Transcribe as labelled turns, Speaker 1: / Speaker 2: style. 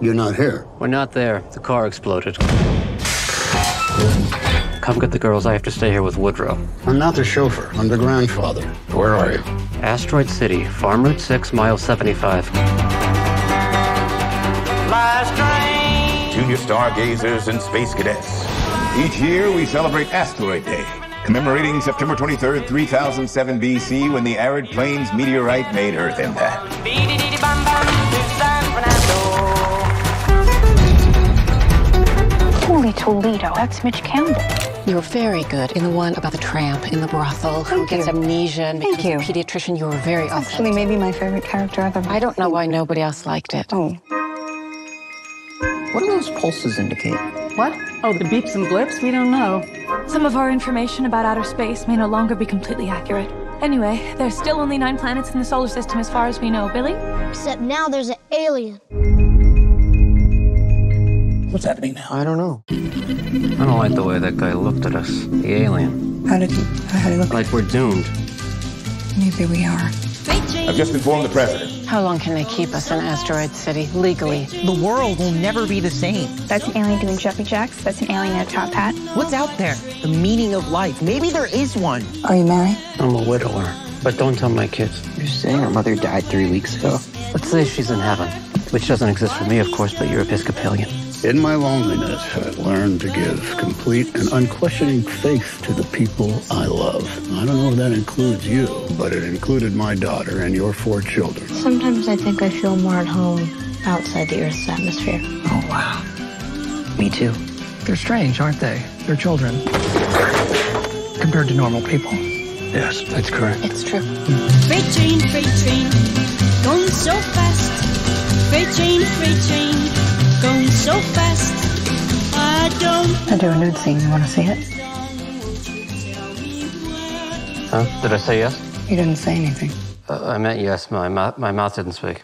Speaker 1: You're not here.
Speaker 2: We're not there. The car exploded. Come get the girls. I have to stay here with Woodrow.
Speaker 1: I'm not the chauffeur. I'm the grandfather. Where are you?
Speaker 2: Asteroid City, Farm Route 6, mile 75.
Speaker 3: Junior stargazers and space cadets. Each year we celebrate Asteroid Day, commemorating September 23rd, 3007 BC, when the arid plains meteorite made Earth impact.
Speaker 4: Holy Toledo, that's Mitch Campbell.
Speaker 5: You're very good in the one about the tramp in the brothel who
Speaker 4: Thank
Speaker 5: gets
Speaker 4: you.
Speaker 5: amnesia and
Speaker 4: Thank
Speaker 5: becomes a pediatrician. You were very
Speaker 4: Actually,
Speaker 5: awesome.
Speaker 4: maybe my favorite character ever.
Speaker 5: I don't know why nobody else liked it.
Speaker 4: Oh.
Speaker 6: What do those pulses indicate?
Speaker 7: What? Oh, the beeps and blips? We don't know.
Speaker 8: Some of our information about outer space may no longer be completely accurate. Anyway, there's still only nine planets in the solar system as far as we know, Billy.
Speaker 9: Except now there's an alien.
Speaker 6: What's happening now?
Speaker 5: I don't know.
Speaker 2: I don't like the way that guy looked at us. The alien.
Speaker 6: How did he? How did he look?
Speaker 2: Like we're doomed.
Speaker 6: Maybe we are.
Speaker 3: I've just informed the president.
Speaker 5: How long can they keep us in Asteroid City legally?
Speaker 10: The world will never be the same.
Speaker 4: That's an alien doing jumping jacks. That's an alien in a top hat.
Speaker 10: What's out there? The meaning of life. Maybe there is one.
Speaker 6: Are you married?
Speaker 2: I'm a widower. But don't tell my kids.
Speaker 6: You're saying her mother died three weeks ago.
Speaker 2: Let's say she's in heaven. Which doesn't exist for me, of course, but you're Episcopalian.
Speaker 1: In my loneliness, I learned to give complete and unquestioning faith to the people I love. I don't know if that includes you, but it included my daughter and your four children.
Speaker 9: Sometimes I think I feel more at home outside the Earth's atmosphere.
Speaker 6: Oh wow. Me too.
Speaker 11: They're strange, aren't they? They're children. Compared to normal people.
Speaker 1: Yes, that's correct.
Speaker 5: It's true.
Speaker 9: Freight train, freight train, going so fast. Freight train, freight train, going so fast. I don't.
Speaker 4: I do a nude scene. You want to see it?
Speaker 2: Huh? Did I say yes?
Speaker 4: You didn't say anything.
Speaker 2: Uh, I meant yes. My, mou- my mouth didn't speak.